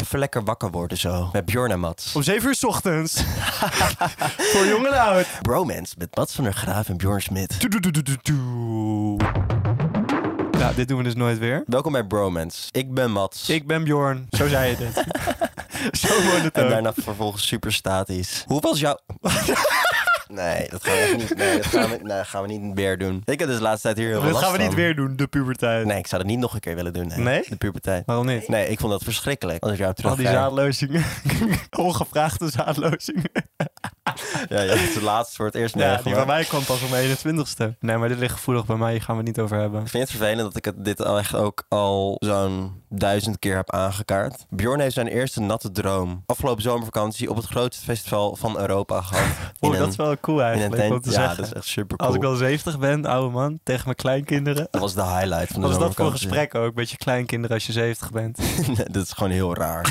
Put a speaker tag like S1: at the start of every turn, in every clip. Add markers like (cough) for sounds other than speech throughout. S1: even lekker wakker worden zo. Met Bjorn en Mats.
S2: Om 7 uur 's
S1: (laughs)
S2: ochtends. Voor jong en oud.
S1: Bromance met Mats van der Graaf en Bjorn Smit.
S2: Doe, doe, doe, doe, doe, doe. Nou, dit doen we dus nooit weer.
S1: Welkom bij Bromance. Ik ben Mats.
S2: Ik ben Bjorn. Zo zei je dit. (laughs) Zo wordt het
S1: En
S2: ook.
S1: daarna vervolgens super statisch. Hoe was jouw... (laughs) nee, dat gaan we echt niet, nee, dat gaan we, nee, dat gaan we niet weer doen. Ik heb dus de laatste tijd hier heel veel
S2: Dat
S1: last
S2: gaan we niet
S1: van.
S2: weer doen, de puberteit.
S1: Nee, ik zou dat niet nog een keer willen doen. Nee?
S2: Nee?
S1: De puberteit.
S2: Waarom niet?
S1: Nee, ik vond dat verschrikkelijk. Als ik jou terug
S2: Al die
S1: ga-
S2: zaadlozingen. (laughs) Ongevraagde zaadlozingen.
S1: Ja, ja, het is de laatste voor het eerst
S2: Ja,
S1: neergelegd,
S2: die
S1: hoor.
S2: van mij kwam pas om 21ste. Nee, maar dit ligt gevoelig bij mij. Hier gaan we het niet over hebben.
S1: Ik vind het vervelend dat ik het, dit al echt ook al zo'n duizend keer heb aangekaart. Bjorn heeft zijn eerste natte droom afgelopen zomervakantie op het grootste festival van Europa
S2: (laughs)
S1: gehad.
S2: Oeh,
S1: In
S2: Oh, dat
S1: een-
S2: is wel cool
S1: in een
S2: eigenlijk. om
S1: tent.
S2: te
S1: Ja,
S2: zeggen.
S1: dat is echt super
S2: Als
S1: cool.
S2: ik al 70 ben, oude man, tegen mijn kleinkinderen.
S1: Dat was de highlight van de
S2: Wat is dat voor
S1: zomervakantie.
S2: gesprek ook? Met je kleinkinderen als je 70 bent.
S1: (laughs) Nee, dat is gewoon heel
S2: (laughs)
S1: raar.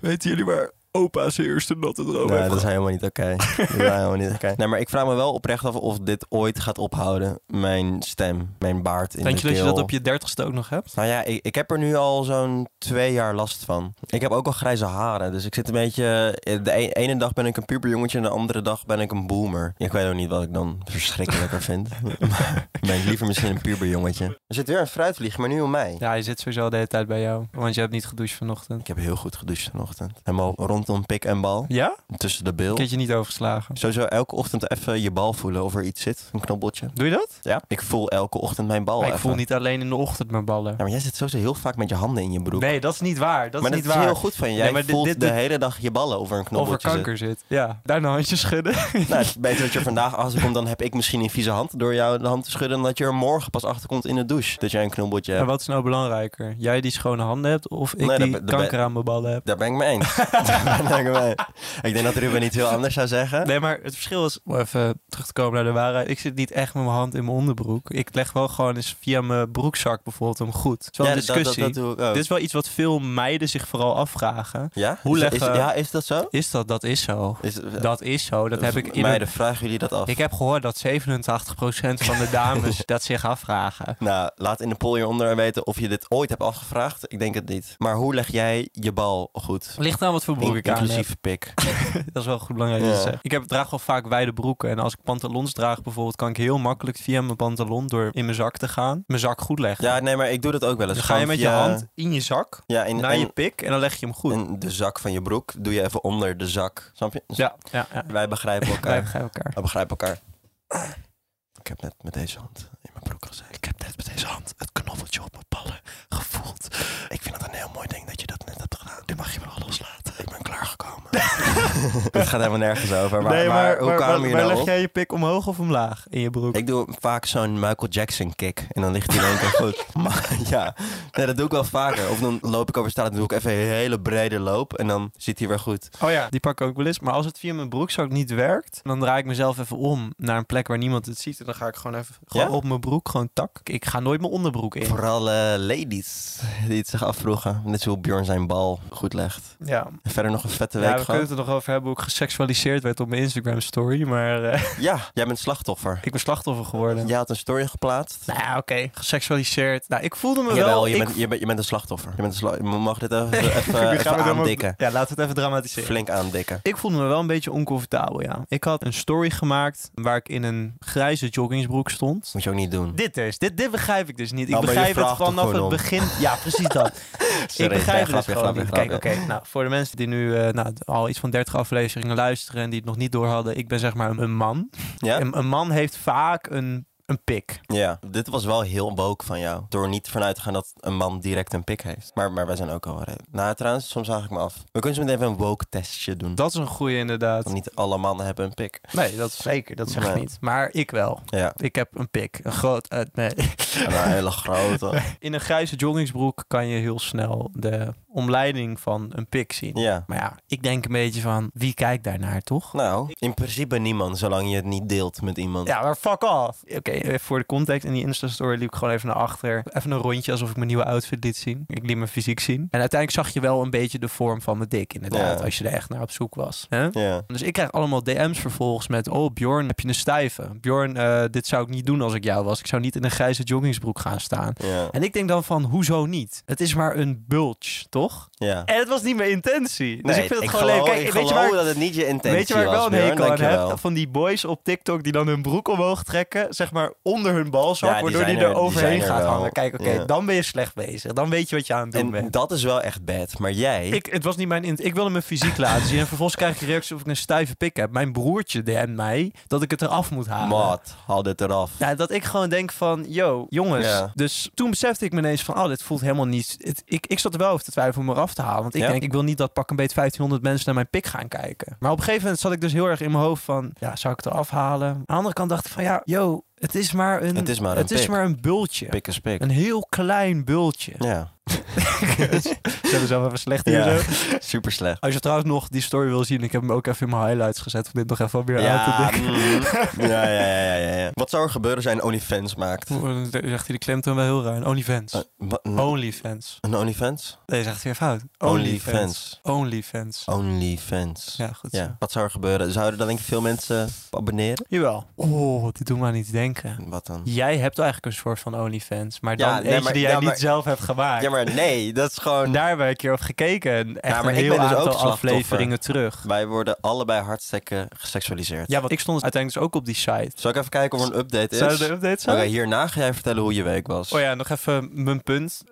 S2: Weten jullie waar opa's eerste natte droom
S1: nee, Nou, dat is helemaal niet oké. Dat is helemaal niet
S2: (laughs)
S1: oké. Nee, maar ik vraag me wel oprecht af of dit ooit gaat ophouden. Mijn stem, mijn baard in
S2: Denk
S1: de
S2: je dat je dat
S1: keel.
S2: op je 30ste ook nog hebt?
S1: Nou ja, ik, ik heb er nu al zo'n twee jaar last van. Ik heb ook al grijze haren. Dus ik zit een beetje. De e- ene dag ben ik een puberjongetje en de andere dag ben ik een boomer. Ik weet ook niet wat ik dan verschrikkelijker vind. (laughs)
S2: (laughs)
S1: Maar ben ik liever misschien een puberjongetje. Er zit weer een fruitvlieg, maar nu om mij.
S2: Ja, hij zit sowieso de hele tijd bij jou. Want je hebt niet gedoucht vanochtend.
S1: Ik heb heel goed gedoucht vanochtend. Helemaal rondom pik en bal.
S2: Ja?
S1: Tussen de
S2: Ik
S1: bil.
S2: heb je niet overgeslagen.
S1: Sowieso elke ochtend even je bal voelen of er iets zit. Een knobbeltje.
S2: Doe je dat?
S1: Ja. Ik voel elke ochtend mijn bal.
S2: Maar ik
S1: Oh, even.
S2: voel niet alleen in de ochtend mijn ballen.
S1: Ja, maar jij zit sowieso heel vaak met je handen in je broek.
S2: Nee, dat is niet waar. Dat
S1: maar
S2: is
S1: dat
S2: niet
S1: is
S2: waar.
S1: heel goed van je. Jij
S2: Nee, maar dit-
S1: voelt
S2: dit-
S1: de
S2: dit-
S1: hele dag je ballen over een knobbeltje
S2: Over kanker zit. Ja. Daar een handje schudden.
S1: zitten. Nou, het is beter dat je er vandaag achter komt, dan heb ik misschien een vieze hand door jou de hand te schudden, dan dat je er morgen pas achter komt in de douche. Dat jij een knobbeltje
S2: (laughs) Maar
S1: hebt.
S2: wat is nou belangrijker? Jij die schone handen hebt of ik
S1: Nee, dat
S2: die
S1: be- dat
S2: kanker aan mijn ballen heb?
S1: Daar ben ik mee
S2: (laughs)
S1: eens. Daar ben ik mee. Ik denk dat Ruben niet heel anders zou zeggen.
S2: Nee, maar het verschil is, om even terug te komen naar de waarheid. Ik zit niet echt met mijn hand in mijn onderbroek. Ik leg wel gewoon eens via mijn broekzak bijvoorbeeld hem goed. Het is wel
S1: Ja,
S2: een
S1: dat- dat- dat
S2: discussie.
S1: doe ik ook.
S2: Dit is wel iets wat veel meiden zich vooral afvragen.
S1: ja?
S2: Hoe
S1: is, dat- is-
S2: leggen-
S1: ja, is dat zo?
S2: Is dat, dat is zo.
S1: Is,
S2: Dat is zo. Dat heb ik in
S1: Meiden, vragen jullie dat af?
S2: Ik heb gehoord dat 87% van de (laughs) dames dat zich afvragen.
S1: Nou, laat in de poll hieronder weten of je dit ooit hebt afgevraagd. Ik denk het niet. Maar hoe leg jij je bal goed?
S2: Ligt aan wat voor broek
S1: In-
S2: ik aan heb.
S1: inclusief pik.
S2: Dat is wel goed belangrijk om
S1: Ja.
S2: te zeggen. Ik heb, draag wel vaak wijde broeken. En als ik pantalons draag bijvoorbeeld, kan ik heel makkelijk via mijn pantalon door in mijn zak te gaan, mijn zak goed leggen.
S1: Ja, nee, maar ik doe dat ook wel eens.
S2: dan ga je
S1: Gewoon
S2: met je
S1: via-
S2: hand in je zak,
S1: Ja, in,
S2: naar
S1: en-
S2: je pik en dan leg je hem goed.
S1: En de zak van je broek doe je even onder de zak. Snap je? Dus
S2: ja, ja, ja.
S1: (laughs) Wij begrijpen elkaar.
S2: Wij begrijpen elkaar.
S1: We begrijpen elkaar. Ik heb net met deze hand in mijn broek gezeten. Ik heb net met deze hand het knoffeltje op mijn ballen gevoeld. Ik vind het een heel mooi ding dat je dat net hebt gedaan. Nu mag je me wel loslaten. Ik ben klaargekomen. (laughs) Het gaat helemaal nergens over. Maar, maar, hoe kwamen we hier
S2: waar
S1: nou
S2: leg
S1: op?
S2: jij je pik omhoog of omlaag in je broek?
S1: Ik doe vaak zo'n Michael Jackson kick. En dan ligt hij in één keer goed.
S2: (laughs)
S1: Maar ja, nee, dat doe ik wel vaker. Of dan loop ik over straat en doe ik even een hele brede loop. En dan zit hij weer goed.
S2: Oh ja, die pak ik ook wel eens. Maar als het via mijn broekzak niet werkt, dan draai ik mezelf even om naar een plek waar niemand het ziet. En dan ga ik gewoon even gewoon
S1: Ja?
S2: op mijn broek, gewoon tak. Ik ga nooit mijn onderbroek in.
S1: Vooral eh, ladies die het zich afvroegen. Net zo hoe Bjorn zijn bal goed legt.
S2: Ja,
S1: En verder nog een vette
S2: ja
S1: week
S2: we kunnen
S1: gehad.
S2: het er nog over hebben hoe ik geseksualiseerd werd op mijn Instagram story. Maar eh, (laughs)
S1: Ja, jij bent slachtoffer.
S2: ik ben slachtoffer geworden.
S1: Jij had een story geplaatst.
S2: Nou ja, oké. Geseksualiseerd. Nou, ik voelde me
S1: Jawel,
S2: wel...
S1: je,
S2: ik (laughs)
S1: bent, je, bent, je bent een slachtoffer. Je bent een sla- je mag dit even, even,
S2: Nu
S1: even
S2: gaan we dan maar-
S1: aandikken.
S2: Ja, laten we het even dramatiseren.
S1: Flink aandikken.
S2: Ik voelde me wel een beetje oncomfortabel, ja. Ik had een story gemaakt waar ik in een grijze joggingsbroek stond.
S1: Moet je ook niet doen.
S2: Dit dus, dit, dit begrijp ik dus niet. Ik
S1: Nou, maar je
S2: begrijp het
S1: vraagt er
S2: vanaf
S1: gewoon
S2: het
S1: om.
S2: begin. Ja, precies
S1: (laughs)
S2: dat. ik
S1: Sorry, nee,
S2: begrijp het dus
S1: grapje,
S2: gewoon
S1: grapje,
S2: niet. Kijk,
S1: grapje.
S2: oké, nou, voor de mensen die nu eh, nou, al iets van 30 afleveringen luisteren en die het nog niet door hadden, ik ben zeg maar een man.
S1: Ja?
S2: Een, een man heeft vaak een, een pik.
S1: Ja, dit was wel heel woke van jou. Door niet vanuit te gaan dat een man direct een pik heeft. Maar, maar wij zijn ook al redelijk. Nou, trouwens, soms haal ik me af. We kunnen zo meteen even een woke testje doen.
S2: Dat is een goede inderdaad.
S1: Want niet alle mannen hebben een pik.
S2: Nee, dat is zeker, dat zeg ik
S1: Nee.
S2: niet. Maar ik wel.
S1: Ja,
S2: Ik heb een pik. Een groot... eh, nee. (laughs)
S1: en een nou, hele grote.
S2: In een grijze joggingsbroek kan je heel snel de omleiding van een pik zien.
S1: Ja.
S2: Maar ja, ik denk een beetje van, wie kijkt daarnaar, toch?
S1: Nou, in principe niemand, zolang je het niet deelt met iemand.
S2: Ja, maar fuck off. Oké, even voor de context. In die Insta-story liep ik gewoon even naar achter. Even een rondje alsof ik mijn nieuwe outfit liet zien. Ik liet mijn fysiek zien. En uiteindelijk zag je wel een beetje de vorm van mijn dik, inderdaad.
S1: Ja.
S2: Als je er echt naar op zoek was. hè?
S1: Ja.
S2: Dus ik krijg allemaal DM's vervolgens met... Oh, Bjorn, heb je een stijve? Bjorn, eh, dit zou ik niet doen als ik jou was. Ik zou niet in een grijze joggingsbroek gaan staan.
S1: Ja.
S2: En ik denk dan van, hoezo niet? Het is maar een bulge, toch? nog.
S1: Ja.
S2: En het was niet mijn intentie. Dus
S1: Nee,
S2: ik vind het gewoon
S1: geloof,
S2: leuk. Kijk,
S1: ik
S2: weet je
S1: geloof
S2: waar,
S1: dat het niet je intentie
S2: weet je waar ik wel
S1: was,
S2: een
S1: Björn?
S2: hekel aan
S1: Dankjewel.
S2: heb? Van die boys op TikTok die dan hun broek omhoog trekken. Zeg maar onder hun balzak.
S1: Ja, die
S2: waardoor
S1: zijn
S2: die
S1: er-
S2: er
S1: die
S2: overheen
S1: zijn er
S2: gaat
S1: wel.
S2: hangen. Kijk, oké,
S1: Ja.
S2: dan ben je slecht bezig. Dan weet je wat je aan het doen bent.
S1: En dat is wel echt bad. Maar jij...
S2: Ik, het was niet mijn int- ik wilde mijn fysiek laten zien. En vervolgens krijg ik de reactie of ik een stijve pik heb. Mijn broertje DM't mij dat ik het eraf moet halen.
S1: Maat, haal dit eraf.
S2: Nou, dat ik gewoon denk van, yo, jongens.
S1: Ja.
S2: Dus toen besefte ik me ineens van, oh, dit voelt helemaal niet... het- ik, ik zat er wel over te twijfelen om eraf te halen. Want ik
S1: Ja.
S2: denk, ik wil niet dat pak een beet 1500 mensen naar mijn pik gaan kijken. Maar op een gegeven moment zat ik dus heel erg in mijn hoofd van, ja, zou ik het eraf halen? Aan de andere kant dacht ik van, ja, yo, het is maar een,
S1: Het is maar een
S2: het is
S1: pik.
S2: maar een bultje.
S1: Pik is pik.
S2: Een heel klein bultje.
S1: Ja,
S2: (laughs) Zullen we zelf even slecht hier
S1: Ja.
S2: zo?
S1: super slecht.
S2: Als je trouwens nog die story wil zien, ik heb hem ook even in mijn highlights gezet. Om dit nog even weer aan te
S1: Ja,
S2: denken.
S1: mm.
S2: (laughs)
S1: ja, ja, ja, ja, ja, ja. Wat zou er gebeuren als jij een OnlyFans maakt?
S2: Oeh, dan Zegt hij de klemtoon wel heel ruim. Onlyfans.
S1: Eh, wat-
S2: Oh.
S1: een-
S2: Onlyfans.
S1: Een OnlyFans?
S2: Nee, zegt hij weer fout. Onlyfans.
S1: OnlyFans.
S2: Onlyfans.
S1: OnlyFans.
S2: Ja, goed zo.
S1: Ja, wat zou er gebeuren? Zouden dan denk ik veel mensen abonneren?
S2: Jawel. Oh, dit doet me aan iets denken.
S1: Wat dan?
S2: Jij hebt eigenlijk een soort van Onlyfans. Maar dan
S1: Ja, nee,
S2: eentje
S1: maar-
S2: die jij
S1: ja, maar-
S2: niet zelf hebt gemaakt.
S1: Ja, maar nee, dat is gewoon...
S2: Daar ben ik een keer op gekeken. En Echt
S1: maar
S2: een
S1: ik
S2: heel
S1: ben dus ook
S2: aantal
S1: slachtoffer.
S2: afleveringen terug.
S1: Wij worden allebei hartstikke geseksualiseerd.
S2: Ja, want ik stond uiteindelijk dus ook op die site.
S1: Zal ik even kijken of er een update is? Oh,
S2: Zou de update
S1: Oké,
S2: zijn?
S1: hierna ga jij vertellen hoe je week was.
S2: Oh ja, nog even mijn punt.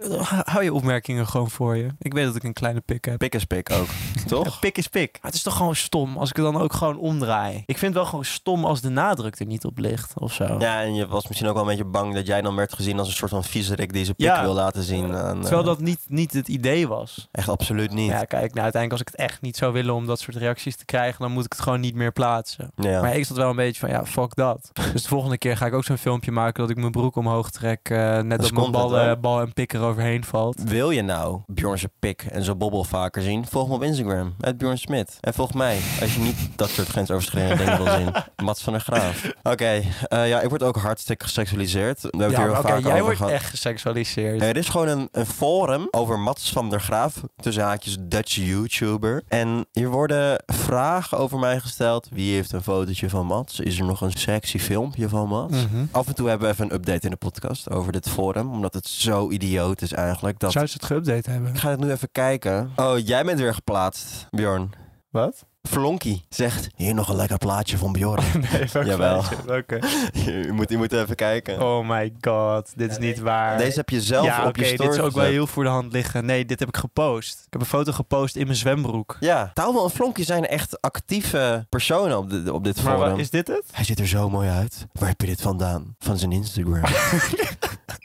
S2: Hou je opmerkingen gewoon voor je. Ik weet dat ik een kleine pik heb.
S1: Pik is pik
S2: (laughs)
S1: ook,
S2: Ja,
S1: toch?
S2: pik is pik. Maar het is toch gewoon stom als ik het dan ook gewoon omdraai. Ik vind het wel gewoon stom als de nadruk er niet op ligt of zo.
S1: Ja, en je was misschien ook wel een beetje bang dat jij dan werd gezien als een soort van viezerik die zijn pik
S2: Ja.
S1: wil laten zien. aan, eh,
S2: Terwijl dat niet, niet het idee was.
S1: Echt absoluut niet.
S2: Ja,
S1: Ja.
S2: kijk, nou, uiteindelijk als ik het echt niet zou willen om dat soort reacties te krijgen, dan moet ik het gewoon niet meer plaatsen. Maar ik zat wel een beetje van, ja, fuck
S1: (laughs)
S2: dat. Dus de volgende keer ga ik ook zo'n filmpje maken dat ik mijn broek omhoog trek, eh, net
S1: Dus
S2: dat mijn
S1: komt het
S2: bal, eh,
S1: wel.
S2: bal en pik eroverheen valt.
S1: Wil je nou Bjorn zijn pik en zijn bobbel vaker zien? Volg me op Instagram, het Bjorn Smit. En volg mij, als je niet dat soort grensoverschrijdende dingen wil
S2: (laughs)
S1: zien. Mats van der Graaf. Oké, eh, ja, ik word ook hartstikke geseksualiseerd. We hebben
S2: Ja,
S1: het hier
S2: maar
S1: al
S2: oké,
S1: vaker
S2: jij
S1: over
S2: wordt
S1: gehad.
S2: echt geseksualiseerd.
S1: Er is gewoon een, een forum over Mats van der Graaf, tussen haakjes Dutch YouTuber. En hier worden vragen over mij gesteld. Wie heeft een fotootje van Mats? Is er nog een sexy filmpje van Mats?
S2: Mhm.
S1: Af en toe hebben we even een update in de podcast over dit forum, omdat het zo idioot is eigenlijk. Dat...
S2: Zou ze het geüpdate
S1: (laughs)
S2: hebben?
S1: Ik ga het nu even kijken. Oh, jij bent weer geplaatst, Bjorn.
S2: Wat?
S1: Flonky zegt, hier nog een lekker plaatje van Bjorn.
S2: (laughs)
S1: (laughs)
S2: Nee, welk
S1: Jawel.
S2: plaatje? Welke?
S1: je, moet, je moet even kijken.
S2: Oh my god, dit is niet waar.
S1: Deze heb je zelf
S2: ja,
S1: op
S2: oké,
S1: je story
S2: dit is ook wel
S1: gezet.
S2: heel voor de hand liggen. Nee, dit heb ik gepost. Ik heb een foto gepost in mijn zwembroek.
S1: Ja, Tauwel en Flonky zijn echt actieve personen op, de, op dit
S2: Maar
S1: forum.
S2: wa- is dit het?
S1: Hij ziet er zo mooi uit. Waar heb je dit vandaan? Van zijn
S2: (laughs)
S1: Instagram.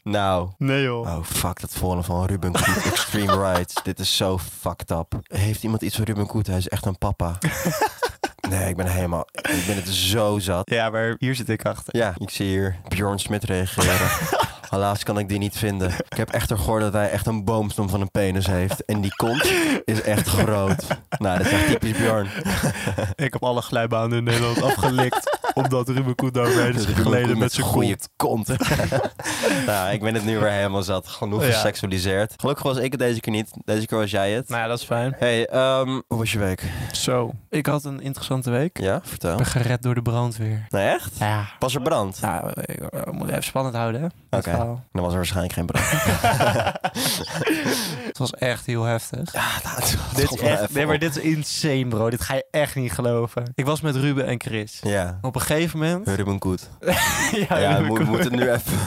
S1: nou.
S2: Nee joh.
S1: Oh fuck, dat forum van Ruben
S2: (laughs)
S1: Koet. Extreme Rights. Dit is zo fucked up. Heeft iemand iets van Ruben Koet? Hij is echt een
S2: (laughs)
S1: papa. nee, ik ben helemaal... Ik ben het zo zat.
S2: Ja, maar hier zit ik achter.
S1: Ja, ik zie hier Bjorn Smit
S2: (laughs)
S1: reageren. Helaas kan ik die niet vinden. Ik heb echter gehoord dat hij echt een boomstom van een penis heeft. En die kont is echt groot. Nou, dat is echt typisch Bjorn.
S2: (laughs) Ik heb alle glijbanen in Nederland (laughs) afgelikt. omdat Ruben Koet daarmee is
S1: Dat doe ik ook
S2: geleden met zijn
S1: goeie
S2: goede.
S1: kont. (laughs) nou, ik ben het nu weer helemaal zat. Genoeg
S2: Ja.
S1: geseksualiseerd. Gelukkig was ik het deze keer niet. Deze keer was jij het.
S2: Nou ja, dat is fijn.
S1: Hey, ehm, hoe was je week?
S2: Zo, ik had een interessante week.
S1: Ja,
S2: Ik
S1: vertel.
S2: ben gered door de brandweer.
S1: Nou echt?
S2: Ja.
S1: Was er brand?
S2: Nou, ik, eh, moet even spannend houden, hè? dit
S1: Oké.
S2: verhaal.
S1: Dan was er waarschijnlijk geen
S2: (laughs)
S1: brand.
S2: Het was echt heel heftig. Dit is
S1: Schop me
S2: echt,
S1: even
S2: nee, maar
S1: op.
S2: dit is insane, bro. Dit ga je echt niet geloven. Ik was met Ruben en Chris.
S1: Ja.
S2: Op een gegeven moment.
S1: Ruben Koet.
S2: (laughs) ja,
S1: Ja,
S2: Ruben
S1: we
S2: komt-
S1: moeten nu even...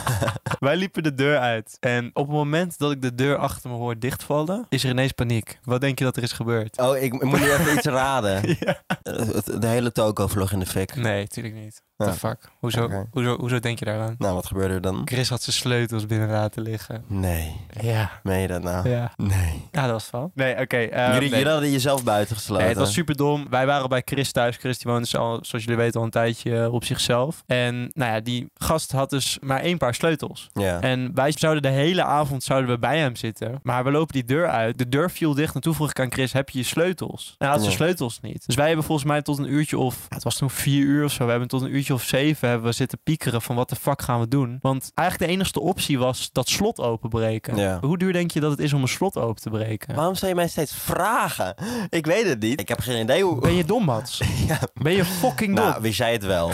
S2: Wij liepen de deur uit. En op het moment dat ik de deur achter me hoor dichtvallen, is er ineens paniek. Wat denk je dat er is gebeurd?
S1: Oh, ik moet nu even iets raden.
S2: (laughs) Ja.
S1: Eh, het- De hele toko vlog in de fik.
S2: Nee, natuurlijk niet. What the fuck? Hoezo,
S1: Oké.
S2: hoezo, hoezo denk je daaraan?
S1: Nou, wat gebeurde er dan?
S2: Chris had zijn sleutels binnen laten liggen.
S1: Nee.
S2: Ja.
S1: Meen je dat nou?
S2: Ja.
S1: Nee.
S2: Ja, dat was het wel. Ah. Nee, oké. eh,
S1: jullie,
S2: nee.
S1: jullie hadden jezelf buiten gesloten.
S2: Nee, het was super dom. Wij waren bij Chris thuis. Chris die woonde al, zoals jullie weten al een tijdje eh, op zichzelf. En nou ja, die gast had dus maar één paar sleutels.
S1: Ja.
S2: En wij zouden de hele avond zouden we bij hem zitten. Maar we lopen die deur uit. De deur viel dicht. En toen vroeg ik aan Chris, heb je je sleutels? En hij had zijn
S1: Ja.
S2: sleutels niet. Dus wij hebben volgens mij tot een uurtje of... ja, het was toen vier uur of zo. We hebben tot een uurtje of zeven hebben we zitten piekeren van wat de fuck gaan we doen. Want eigenlijk de enige optie was dat slot openbreken.
S1: Ja.
S2: Hoe duur denk je dat het is om een slot open te breken?
S1: Waarom stel je mij steeds vragen? Ik weet het niet. Ik heb geen idee hoe...
S2: Ben je dom, Mats?
S1: (laughs) Ja.
S2: Ben je fucking dom? (laughs)
S1: Nou, wist jij het wel?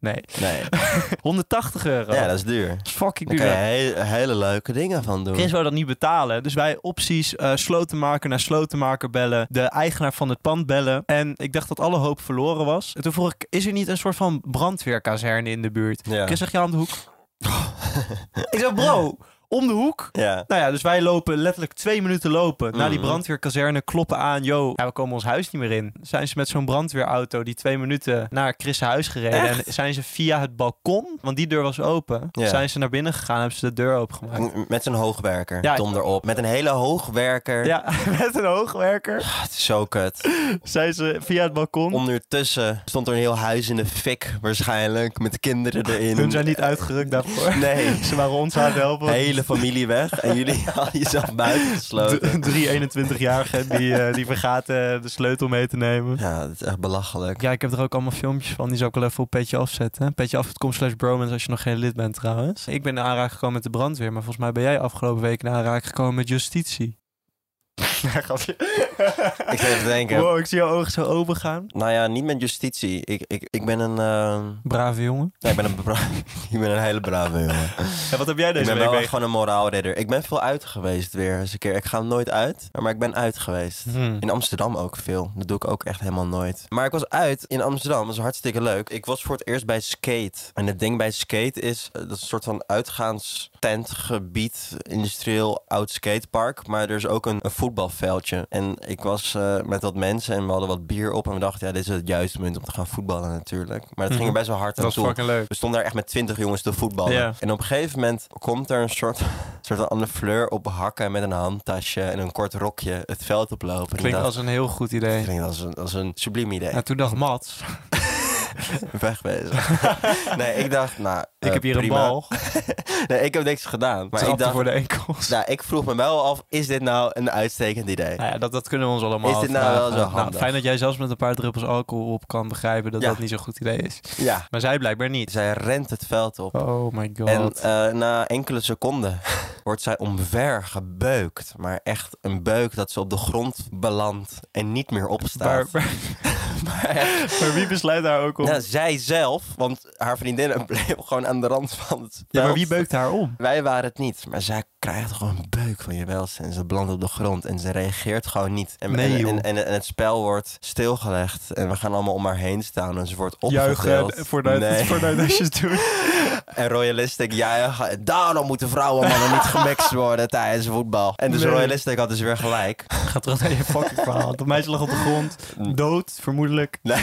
S2: Nee.
S1: Nee.
S2: 180 euro.
S1: Ja, dat is duur.
S2: Dat is fucking
S1: Daar
S2: duur.
S1: kan je he- hele leuke dingen van doen.
S2: Chris wou dat niet betalen. Dus wij opties eh, slotenmaker naar slotenmaker bellen. De eigenaar van het pand bellen. En ik dacht dat alle hoop verloren was. En toen vroeg ik, is er niet een soort van brandweerkazerne in de buurt?
S1: Ja.
S2: Chris zegt, ja, om de hoek.
S1: (laughs)
S2: ik zeg, bro, om de hoek?
S1: Ja.
S2: Nou ja, dus wij lopen letterlijk twee minuten lopen naar die
S1: Mhm.
S2: brandweerkazerne, kloppen aan, yo, ja, we komen ons huis niet meer in. Zijn ze met zo'n brandweerauto die twee minuten naar Chris' huis gereden en zijn ze via het balkon, want die deur was open,
S1: Ja.
S2: zijn ze naar binnen gegaan, hebben ze de deur opengemaakt.
S1: M- Met zo'n hoogwerker.
S2: Ja.
S1: Donder op. Met een hele hoogwerker.
S2: Ja, (laughs) met een hoogwerker
S1: Ah, het is zo kut.
S2: zijn ze via het balkon.
S1: Ondertussen stond er een heel huis in de fik waarschijnlijk. Met kinderen erin.
S2: Hun zijn niet uitgerukt daarvoor.
S1: Nee.
S2: (laughs) Ze waren ons aan het helpen.
S1: De hele familie weg. En jullie (laughs) hadden jezelf buiten gesloten.
S2: D- Drie 21-jarigen die, eh, die vergaten de sleutel mee te nemen.
S1: Ja, dat is echt belachelijk.
S2: Ja, ik heb er ook allemaal filmpjes van. Die zou ik wel even op petje afzetten. Petjeaf.com slash bromance als je nog geen lid bent trouwens. Ik ben in aanraking gekomen met de brandweer. Maar volgens mij ben jij afgelopen week in aanraking gekomen met justitie. (laughs) Ja, grapje.
S1: (laughs) Ik zat even te denken.
S2: Wow, ik zie jouw ogen zo open gaan.
S1: Nou ja, niet met justitie. Ik, ik, ik ben een... eh,
S2: Brave jongen.
S1: Nee, ik ben een, bra- (laughs) ik ben een hele brave jongen.
S2: Ja, wat heb jij
S1: Ik
S2: deze
S1: ben
S2: week
S1: wel
S2: mee?
S1: echt gewoon een moraalridder. Ik ben veel uit geweest weer eens een keer. Ik ga nooit uit, maar ik ben uit geweest.
S2: Hmm.
S1: In Amsterdam ook veel. Dat doe ik ook echt helemaal nooit. Maar ik was uit in Amsterdam. Dat was hartstikke leuk. Ik was voor het eerst bij Skate. En het ding bij Skate is... eh, Dat is een soort van uitgaanstentgebied. Industrieel oud skatepark. Maar er is ook een, een voetbalveldje. En ik was eh, met wat mensen en we hadden wat bier op. En we dachten, ja, dit is het juiste moment om te gaan voetballen natuurlijk. Maar het ging er
S2: Mhm.
S1: best wel hard
S2: Dat
S1: aan
S2: was
S1: toe.
S2: fucking leuk.
S1: We stonden daar echt met twintig jongens te voetballen.
S2: Ja.
S1: En op een gegeven moment komt er een soort, (laughs) soort van Anne Fleur op hakken met een handtasje en een kort rokje het veld oplopen.
S2: Klinkt
S1: En
S2: als een heel goed
S1: dat,
S2: idee.
S1: klinkt als een, als een subliem idee.
S2: Nou, toen dacht Mats,
S1: (laughs)
S2: (laughs)
S1: Wegwezen. nee, ik dacht, nou...
S2: ik
S1: eh,
S2: heb hier
S1: prima.
S2: een bal.
S1: Nee, ik heb niks gedaan. Maar
S2: Trapte
S1: ik dacht,
S2: voor de enkels.
S1: nou, ik vroeg me wel af, is dit nou een uitstekend idee?
S2: Nou ja, dat, dat kunnen we ons allemaal
S1: Is dit nou
S2: afvragen.
S1: wel zo handig?
S2: Fijn dat jij zelfs met een paar druppels alcohol op kan begrijpen dat
S1: Ja.
S2: dat niet zo'n goed idee is.
S1: Ja.
S2: Maar zij blijkbaar niet.
S1: Zij rent het veld op.
S2: Oh my god.
S1: En eh, na enkele seconden (laughs) wordt zij omver gebeukt. Maar echt een beuk dat ze op de grond belandt en niet meer
S2: maar,
S1: opstaat.
S2: maar,
S1: Maar echt,
S2: (laughs) maar wie besluit daar ook om?
S1: nou, zij zelf, want haar (laughs) vriendinnen bleven gewoon aan de rand van het
S2: Ja, maar
S1: veld.
S2: wie beukt haar om?
S1: Wij waren het niet, maar zij krijgt gewoon een beuk van je welste. En ze belandt op de grond en ze reageert gewoon niet. En,
S2: Nee,
S1: en,
S2: joh.
S1: en, en, en het spel wordt stilgelegd en we gaan allemaal om haar heen staan en ze wordt opgetild.
S2: Juichen vooruit (laughs)
S1: Nee.
S2: asjes doen.
S1: (laughs)
S2: (laughs)
S1: En Royalistic juichen. Daarom moeten vrouwen en mannen niet gemixt worden tijdens voetbal. En dus
S2: Nee.
S1: Royalistic had dus weer gelijk.
S2: Ga terug naar je fucking verhaal. Dat meisje lag op de grond,
S1: Mm.
S2: dood, vermoedelijk.
S1: Nee.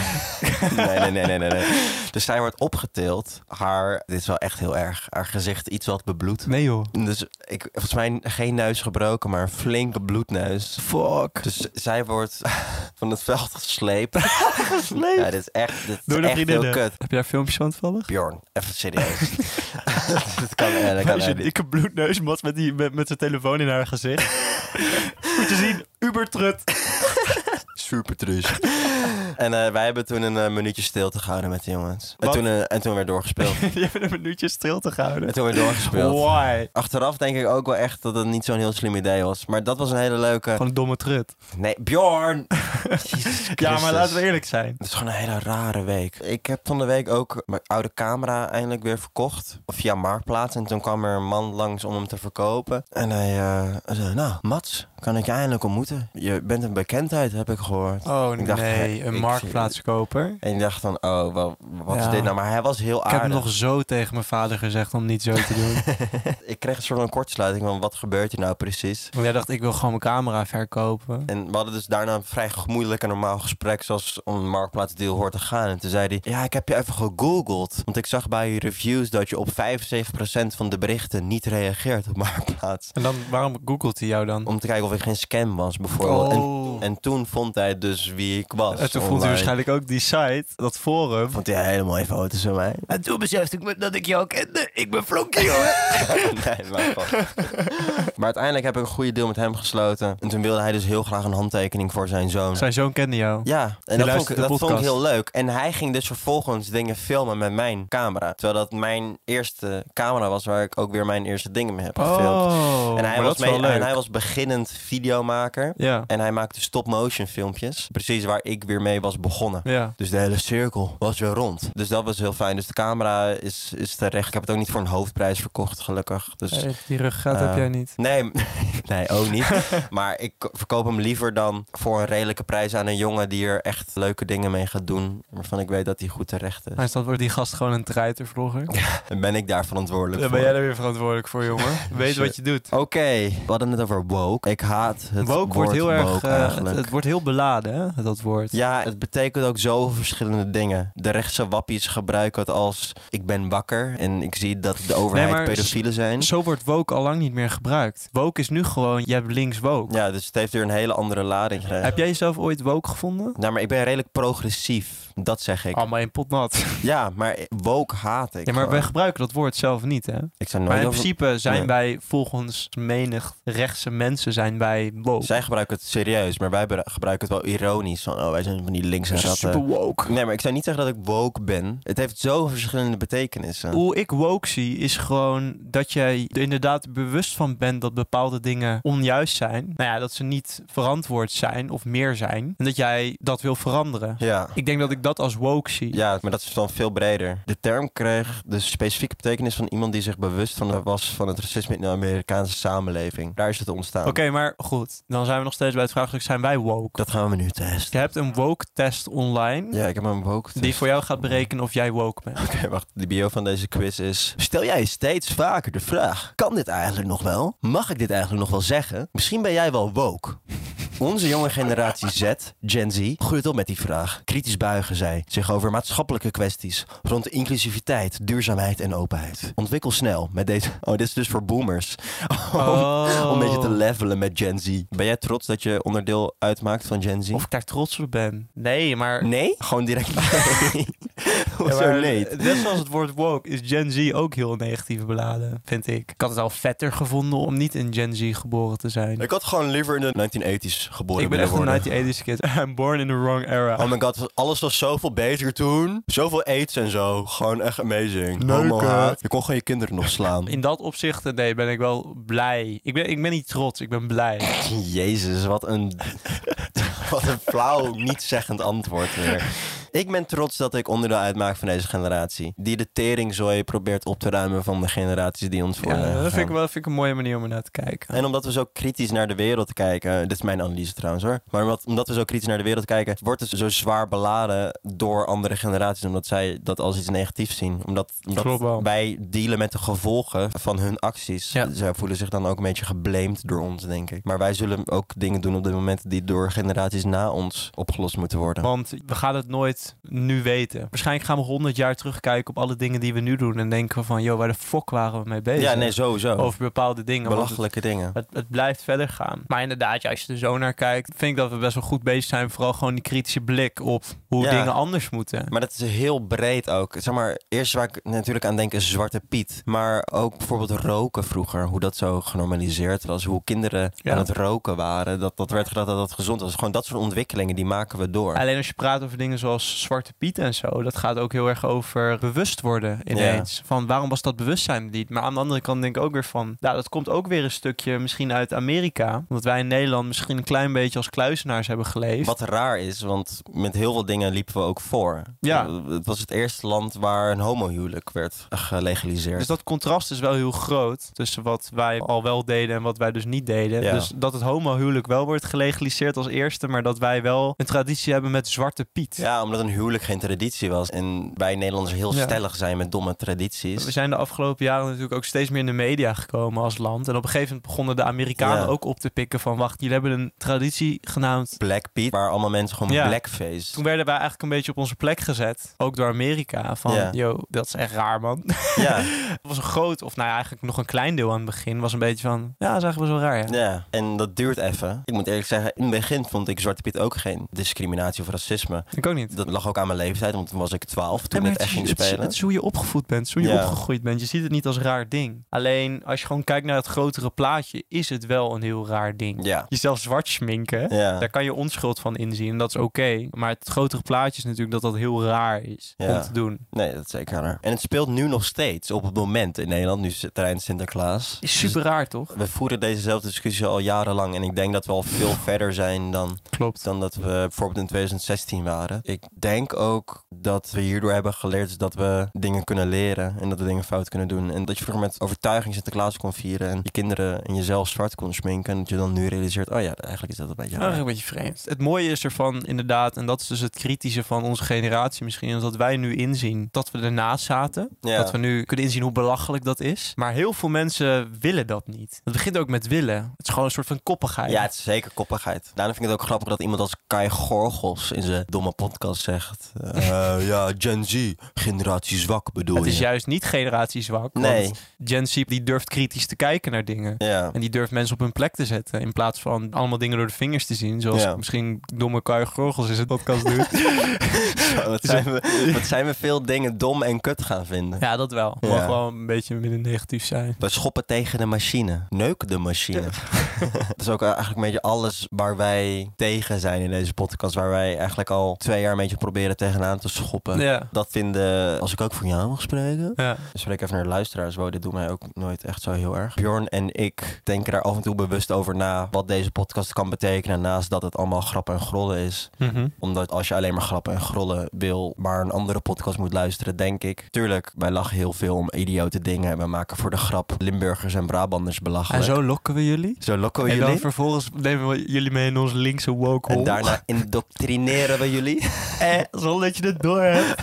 S1: nee, nee, nee, nee, nee, nee. Dus zij wordt opgetild. Haar, dit is wel echt heel erg, haar gezicht iets wat bebloed.
S2: Nee joh.
S1: Dus ik, volgens mij geen neus gebroken, maar een flinke bloedneus.
S2: Fuck.
S1: Dus zij wordt (laughs) van het veld gesleept.
S2: (laughs) Gesleept.
S1: Ja, dit is echt, dit
S2: Door
S1: is
S2: de
S1: echt heel
S2: vriendinnen.
S1: kut.
S2: Heb jij filmpjes van toevallig?
S1: Bjorn, even serieus.
S2: (laughs)
S1: (laughs) dat kan, eh, dat kan
S2: Meisje,
S1: echt niet.
S2: dikke bloedneus, Mats met, die, met, met zijn telefoon in haar
S1: (laughs)
S2: gezicht. Moet je zien, ubertrut.
S1: Super
S2: (laughs)
S1: triest. en eh, wij hebben toen een eh, minuutje stilte gehouden met de jongens. En
S2: Wat?
S1: toen, eh, en toen weer doorgespeeld.
S2: (laughs) Je hebt een minuutje stil te
S1: en
S2: houden.
S1: toen weer doorgespeeld. (laughs)
S2: Why?
S1: Achteraf denk ik ook wel echt dat het niet zo'n heel slim idee was. Maar dat was een hele leuke...
S2: Gewoon een domme trut.
S1: Nee,
S2: (laughs)
S1: Bjorn! Jezus
S2: Ja, maar
S1: Christus.
S2: laten we eerlijk zijn.
S1: Het is gewoon een hele rare week. Ik heb van de week ook mijn oude camera eindelijk weer verkocht. Via Marktplaats. En toen kwam er een man langs om hem te verkopen. En hij eh, hij zei, nou, Mats, kan ik je eindelijk ontmoeten? Je bent een bekendheid, heb ik gehoord.
S2: Oh
S1: Ik dacht,
S2: nee,
S1: hè,
S2: een
S1: ik-
S2: marktplaatskoper.
S1: En ik dacht dan, oh, wel, wat
S2: Ja.
S1: is dit nou? Maar hij was heel
S2: Ik
S1: aardig.
S2: heb nog zo tegen mijn vader gezegd om niet zo te
S1: (laughs)
S2: doen.
S1: Ik kreeg een soort van kortsluiting van, wat gebeurt hier nou precies?
S2: Want jij dacht, ik wil gewoon mijn camera verkopen.
S1: En we hadden dus daarna een vrij gemoedelijk en normaal gesprek, zoals een marktplaatsdeal hoort te gaan. En toen zei hij, ja, ik heb je even gegoogeld. Want ik zag bij je reviews dat je op 75% van de berichten niet reageert op marktplaats.
S2: En dan, waarom googelt hij jou dan?
S1: Om te kijken of ik geen scam was, bijvoorbeeld. En,
S2: Oh.
S1: en toen vond hij dus wie ik was.
S2: En toen vond
S1: online.
S2: hij waarschijnlijk ook die site, dat forum.
S1: Vond hij hele mooie foto's van mij.
S2: En toen besefte ik me dat ik jou kende. Ik ben Flonkie, hoor.
S1: (laughs) nee, maar, gewoon.
S2: (laughs)
S1: maar uiteindelijk heb ik een goede deal met hem gesloten. En toen wilde hij dus heel graag een handtekening voor zijn zoon.
S2: Zijn zoon kende jou.
S1: Ja, en dat,
S2: Die
S1: vond ik,
S2: luistert de
S1: dat vond ik
S2: podcast.
S1: heel leuk. En hij ging dus vervolgens dingen filmen met mijn camera. Terwijl dat mijn eerste camera was waar ik ook weer mijn eerste dingen mee heb gefilmd.
S2: Oh,
S1: en hij
S2: maar
S1: was
S2: dat is wel
S1: mee-
S2: leuk.
S1: En hij was beginnend videomaker.
S2: Ja.
S1: En hij maakte stop-motion filmpjes. Precies waar ik weer mee was begonnen.
S2: Ja.
S1: Dus de hele cirkel was weer rond. Dus dat was heel fijn. Dus de camera is, is terecht. Ik heb het ook niet voor een hoofdprijs verkocht, gelukkig. Dus
S2: Hey, die ruggraat
S1: Eh,
S2: heb jij niet.
S1: Nee, (laughs) nee, ook
S2: (laughs)
S1: niet. maar ik verkoop hem liever dan voor een redelijke prijs aan een jongen die er echt leuke dingen mee gaat doen. Waarvan ik weet dat hij goed terecht is.
S2: Maar is dat wordt die gast gewoon een treiter vlogger?
S1: En ben ik daar verantwoordelijk
S2: Daar
S1: voor.
S2: ben jij er weer verantwoordelijk
S1: (laughs)
S2: voor, jongen. Weet wat je doet.
S1: Oké, we hadden het over woke. Ik haat het
S2: woke
S1: woord
S2: wordt heel erg.
S1: woke
S2: eh, het,
S1: eigenlijk.
S2: het wordt heel beladen, hè, dat woord.
S1: Ja, het betekent ook zoveel verschillende dingen. De rechtse wappies gebruiken het als ik ben wakker en ik zie dat de overheid
S2: maar-
S1: pedofielen zijn.
S2: Zo wordt woke al lang niet meer gebruikt. Woke is nu gewoon, je hebt links woke.
S1: Ja, dus het heeft weer een hele andere lading gekregen.
S2: Heb jij jezelf ooit woke gevonden?
S1: Nou, maar ik ben redelijk progressief. Dat zeg ik.
S2: Allemaal in (laughs) potnat.
S1: Ja, maar woke haat ik.
S2: Ja, maar
S1: gewoon.
S2: wij gebruiken dat woord zelf niet, hè?
S1: Ik zou
S2: Maar
S1: nooit
S2: in
S1: over-
S2: principe zijn
S1: Nee.
S2: wij volgens menig rechtse mensen zijn wij woke.
S1: Zij gebruiken het serieus, maar wij bera- gebruiken het wel ironisch. Van, oh, wij zijn eh, van die linkse ratten.
S2: woke.
S1: Nee, maar ik zou niet zeggen dat ik woke ben. Het heeft zo verschillende betekenissen.
S2: Hoe ik woke zie is gewoon dat jij er inderdaad bewust van bent dat bepaalde dingen onjuist zijn. Nou ja, dat ze niet verantwoord zijn of meer zijn. En dat jij dat wil veranderen.
S1: Ja.
S2: Ik denk dat ik dat als woke zie.
S1: ja, maar dat is dan veel breder. De term kreeg de specifieke betekenis van iemand die zich bewust van was van het racisme in de Amerikaanse samenleving. Daar is het ontstaan.
S2: Oké, maar goed. Dan zijn we nog steeds bij het vraagstuk, zijn wij woke?
S1: Dat gaan we nu testen.
S2: Je hebt een woke test online
S1: Ja, ik heb een woke test.
S2: die voor jou gaat berekenen of jij woke bent.
S1: Oké, wacht. De bio van deze quiz is... Stel jij steeds vaker de vraag... Kan dit eigenlijk nog wel? Mag ik dit eigenlijk nog wel zeggen? Misschien ben jij wel woke. Onze jonge generatie Z, Gen Z, groeit op met die vraag. Kritisch buigen zij zich over maatschappelijke kwesties... rond inclusiviteit, duurzaamheid en openheid. Ontwikkel snel met deze... (laughs) Oh, dit is dus voor boomers. (laughs) (laughs) Om,
S2: Oh.
S1: om een beetje te levelen met Gen Z. Ben jij trots dat je onderdeel uitmaakt van Gen Z?
S2: Of ik daar trots op ben. Nee, maar...
S1: Nee? Gewoon direct (laughs) nee. Hoezo
S2: (laughs) Ja, maar
S1: nee?
S2: Net zoals het woord woke is Gen Z ook heel negatief beladen, vind ik. Ik had het al vetter gevonden om niet in Gen Z geboren te zijn.
S1: Ik had gewoon liever in de 1980s geboren
S2: Ik ben echt
S1: willen
S2: een
S1: worden.
S2: 1980s kid. (laughs) I'm born in the wrong era.
S1: Oh my god, alles was zoveel beter toen. Zoveel aids en zo. Gewoon echt amazing.
S2: Leuk,
S1: Homohaat. Je kon gewoon je kinderen nog slaan.
S2: in dat opzicht, nee, ben ik wel blij. Ik ben, ik ben niet trots, ik ben blij.
S1: Jezus, wat een... (laughs) wat een flauw, niet-zeggend antwoord weer. Ik ben trots dat ik onderdeel uitmaak van deze generatie. Die de teringzooi probeert op te ruimen van de generaties die ons voor
S2: Ja,
S1: zijn
S2: dat vind ik,
S1: gegaan.
S2: wel, vind ik een mooie manier om er naar te kijken.
S1: En omdat we zo kritisch naar de wereld kijken, eh, dit is mijn analyse trouwens hoor, maar omdat, omdat we zo kritisch naar de wereld kijken, wordt het zo zwaar beladen door andere generaties, omdat zij dat als iets negatiefs zien. Omdat,
S2: Klopt
S1: omdat
S2: wel.
S1: wij dealen met de gevolgen van hun acties.
S2: Ja.
S1: Zij voelen zich dan ook een beetje geblamed door ons, denk ik. Maar wij zullen ook dingen doen op dit moment die door generaties na ons opgelost moeten worden.
S2: Want we gaan het nooit nu weten. Waarschijnlijk gaan we honderd jaar terugkijken op alle dingen die we nu doen. En denken we van, joh, waar de fuck waren we mee bezig?
S1: Ja, nee, sowieso.
S2: Over bepaalde dingen. want het-
S1: Belachelijke dingen.
S2: Het, het blijft verder gaan. Maar inderdaad, ja, als je er zo naar kijkt, vind ik dat we best wel goed bezig zijn. Vooral gewoon die kritische blik op hoe
S1: Ja.
S2: dingen anders moeten.
S1: Maar dat is heel breed ook. Zeg maar, eerst waar ik natuurlijk aan denk is Zwarte Piet. Maar ook bijvoorbeeld roken vroeger. Hoe dat zo genormaliseerd was. Hoe kinderen
S2: Ja.
S1: aan het roken waren. Dat, dat werd gedacht dat dat gezond was. Gewoon dat soort ontwikkelingen, die maken we door.
S2: Alleen als je praat over dingen zoals Zwarte Piet en zo, dat gaat ook heel erg over bewust worden ineens. Van waarom was dat bewustzijn niet? Maar aan de andere kant denk ik ook weer van, nou dat komt ook weer een stukje misschien uit Amerika. Omdat wij in Nederland misschien een klein beetje als kluizenaars hebben geleefd.
S1: Wat raar is, want met heel veel dingen liepen we ook voor.
S2: Ja.
S1: Eh, Het was het eerste land waar een homohuwelijk werd gelegaliseerd.
S2: Dus dat contrast is wel heel groot tussen wat wij al wel deden en wat wij dus niet deden.
S1: Ja.
S2: Dus dat het homohuwelijk wel wordt gelegaliseerd als eerste, maar dat wij wel een traditie hebben met Zwarte Piet.
S1: Ja, omdat een huwelijk geen traditie was. En wij Nederlanders heel
S2: Ja.
S1: stellig zijn met domme tradities.
S2: We zijn de afgelopen jaren natuurlijk ook steeds meer in de media gekomen als land. En op een gegeven moment begonnen de Amerikanen
S1: Ja.
S2: ook op te pikken van... wacht, jullie hebben een traditie genaamd...
S1: Black Piet, waar allemaal mensen gewoon
S2: Ja.
S1: blackface.
S2: Toen werden wij eigenlijk een beetje op onze plek gezet. Ook door Amerika. Van,
S1: Ja.
S2: yo, dat is echt raar, man. (laughs)
S1: Ja.
S2: Het was een groot, of nou ja, eigenlijk nog een klein deel aan het begin... was een beetje van, ja, dat is eigenlijk best wel raar, ja.
S1: Ja, en dat duurt even. Ik moet eerlijk zeggen, in het begin vond ik Zwarte Piet ook geen discriminatie of racisme.
S2: Ik ook niet.
S1: Dat dat lag ook aan mijn leeftijd, want toen was ik 12 toen
S2: Nee,
S1: ik
S2: maar
S1: het echt
S2: het,
S1: ging
S2: is, het, is,
S1: spelen.
S2: het is hoe je opgevoed bent, het is hoe je
S1: Ja.
S2: opgegroeid bent. Je ziet het niet als raar ding. Alleen als je gewoon kijkt naar het grotere plaatje, is het wel een heel raar ding.
S1: Ja.
S2: Jezelf zwart schminken,
S1: Ja.
S2: daar kan je onschuld van inzien en dat is oké. Maar het grotere plaatje is natuurlijk dat dat heel raar is
S1: Ja.
S2: om te doen.
S1: Nee, dat is zeker raar. En het speelt nu nog steeds op het moment in Nederland. Nu is het terrein Sinterklaas.
S2: Is super raar toch?
S1: We voeren dezezelfde discussie al jarenlang. En ik denk dat we al veel verder zijn dan,
S2: Klopt.
S1: dan dat we bijvoorbeeld in 2016 waren. Ik denk ook dat we hierdoor hebben geleerd dat we dingen kunnen leren. En dat we dingen fout kunnen doen. En dat je vroeger met overtuiging Sinterklaas kon vieren. En je kinderen en jezelf zwart kon sminken. En dat je dan nu realiseert, oh ja, eigenlijk is dat een beetje
S2: Ja,
S1: raar.
S2: een beetje vreemd. Het mooie is ervan inderdaad, en dat is dus het kritische van onze generatie misschien, is dat wij nu inzien dat we ernaast zaten.
S1: Ja.
S2: Dat we nu kunnen inzien hoe belachelijk dat is. Maar heel veel mensen willen dat niet. Het begint ook met willen. Het is gewoon een soort van koppigheid.
S1: Ja, het is zeker koppigheid. Daarom vind ik het ook grappig dat iemand als Kai Gorgels in zijn domme podcast zegt...
S2: (laughs)
S1: eh, ja, Gen Z, generatie zwak bedoel
S2: het is
S1: je.
S2: juist niet generatiezwak.
S1: Nee,
S2: Want Gen Z die durft kritisch te kijken naar dingen. (laughs)
S1: ja.
S2: En die durft mensen op hun plek te zetten. In plaats van allemaal dingen door de vingers te zien. Zoals
S1: Ja.
S2: misschien domme Kai Gorgels is het podcast
S1: (laughs)
S2: doet.
S1: Zo, wat, zijn we, wat zijn we veel dingen dom en kut gaan vinden.
S2: ja, dat wel.
S1: Ja.
S2: Mag wel een beetje minder negatief zijn.
S1: We schoppen tegen de machine. Neuk de machine. (laughs) dat is ook eigenlijk een beetje alles waar wij tegen zijn in deze podcast. Waar wij eigenlijk al twee jaar een beetje proberen tegenaan te schoppen.
S2: Ja.
S1: Dat vinden, als ik ook voor jou mag spreken,
S2: Ja.
S1: Ik Spreek even naar de luisteraars. Wow, dit doet mij ook nooit echt zo heel erg. Bjorn en ik denken daar af en toe bewust over na. Wat deze podcast kan betekenen. Naast dat het allemaal grappen en grollen is.
S2: Mhm.
S1: Omdat als je alleen maar grappen en grollen wil. Maar een andere podcast moet luisteren, denk ik. Tuurlijk, wij lachen heel veel om idiote dingen. En we maken voor de grap Limburgers en Brabanders
S2: En
S1: belachelijk.
S2: zo lokken we jullie.
S1: Zo lokken we
S2: En dan
S1: jullie.
S2: vervolgens nemen we jullie mee in ons linkse woke
S1: En
S2: hole. (laughs)
S1: daarna indoctrineren we jullie.
S2: Eh, zonder dat je het door
S1: (laughs)
S2: hebt.